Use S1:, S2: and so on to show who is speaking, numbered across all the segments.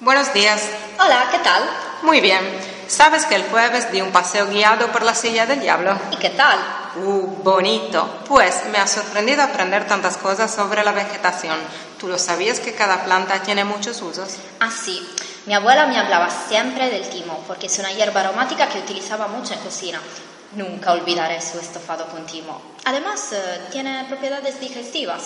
S1: Buenos días.
S2: Hola, ¿qué tal?
S1: Muy bien. Sabes que el jueves di un paseo guiado por la silla del diablo.
S2: ¿Y qué tal?
S1: Uh, bonito. Pues me ha sorprendido aprender tantas cosas sobre la vegetación. ¿Tú lo sabías que cada planta tiene muchos usos?
S2: Así. Ah, Mi abuela me hablaba siempre del timo, porque es una hierba aromática que utilizaba mucho en cocina. Nunca olvidaré su estofado con timo. Además, eh, tiene propiedades digestivas.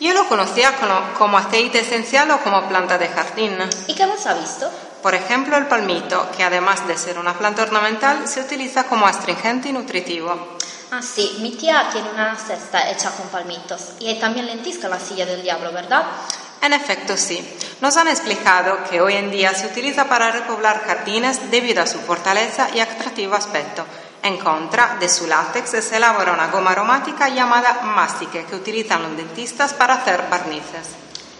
S1: Yo lo conocía como, como aceite esencial o como planta de jardín.
S2: ¿Y qué más ha visto?
S1: Por ejemplo, el palmito, que además de ser una planta ornamental, se utiliza como astringente y nutritivo.
S2: Ah, sí, mi tía tiene una cesta hecha con palmitos. Y hay también lentisca en la silla del diablo, ¿verdad?
S1: En efecto, sí. Nos han explicado que hoy en día se utiliza para repoblar jardines debido a su fortaleza y atractivo aspecto. En contra, de su látex se elabora una goma aromática llamada mastique, que utilizan los dentistas para hacer barnices.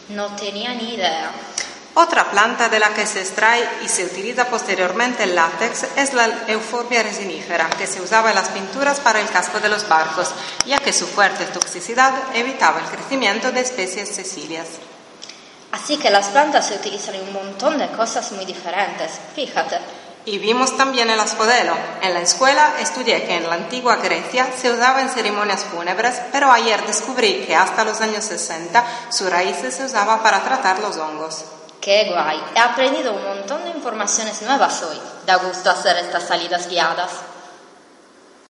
S2: No tenía ni idea.
S1: Otra planta de la que se extrae y se utiliza posteriormente el látex es la euforbia resinífera, que se usaba en las pinturas para el casco de los barcos, ya que su fuerte toxicidad evitaba el crecimiento de especies cecilias.
S2: Así que las plantas se utilizan en un montón de cosas muy diferentes. Fíjate,
S1: Y vimos también el asfodelo. En la escuela estudié que en la antigua Grecia se usaba en ceremonias fúnebres, pero ayer descubrí que hasta los años 60 su raíz se usaba para tratar los hongos.
S2: qué guay. He aprendido un montón de informaciones nuevas hoy. Da gusto hacer estas salidas guiadas.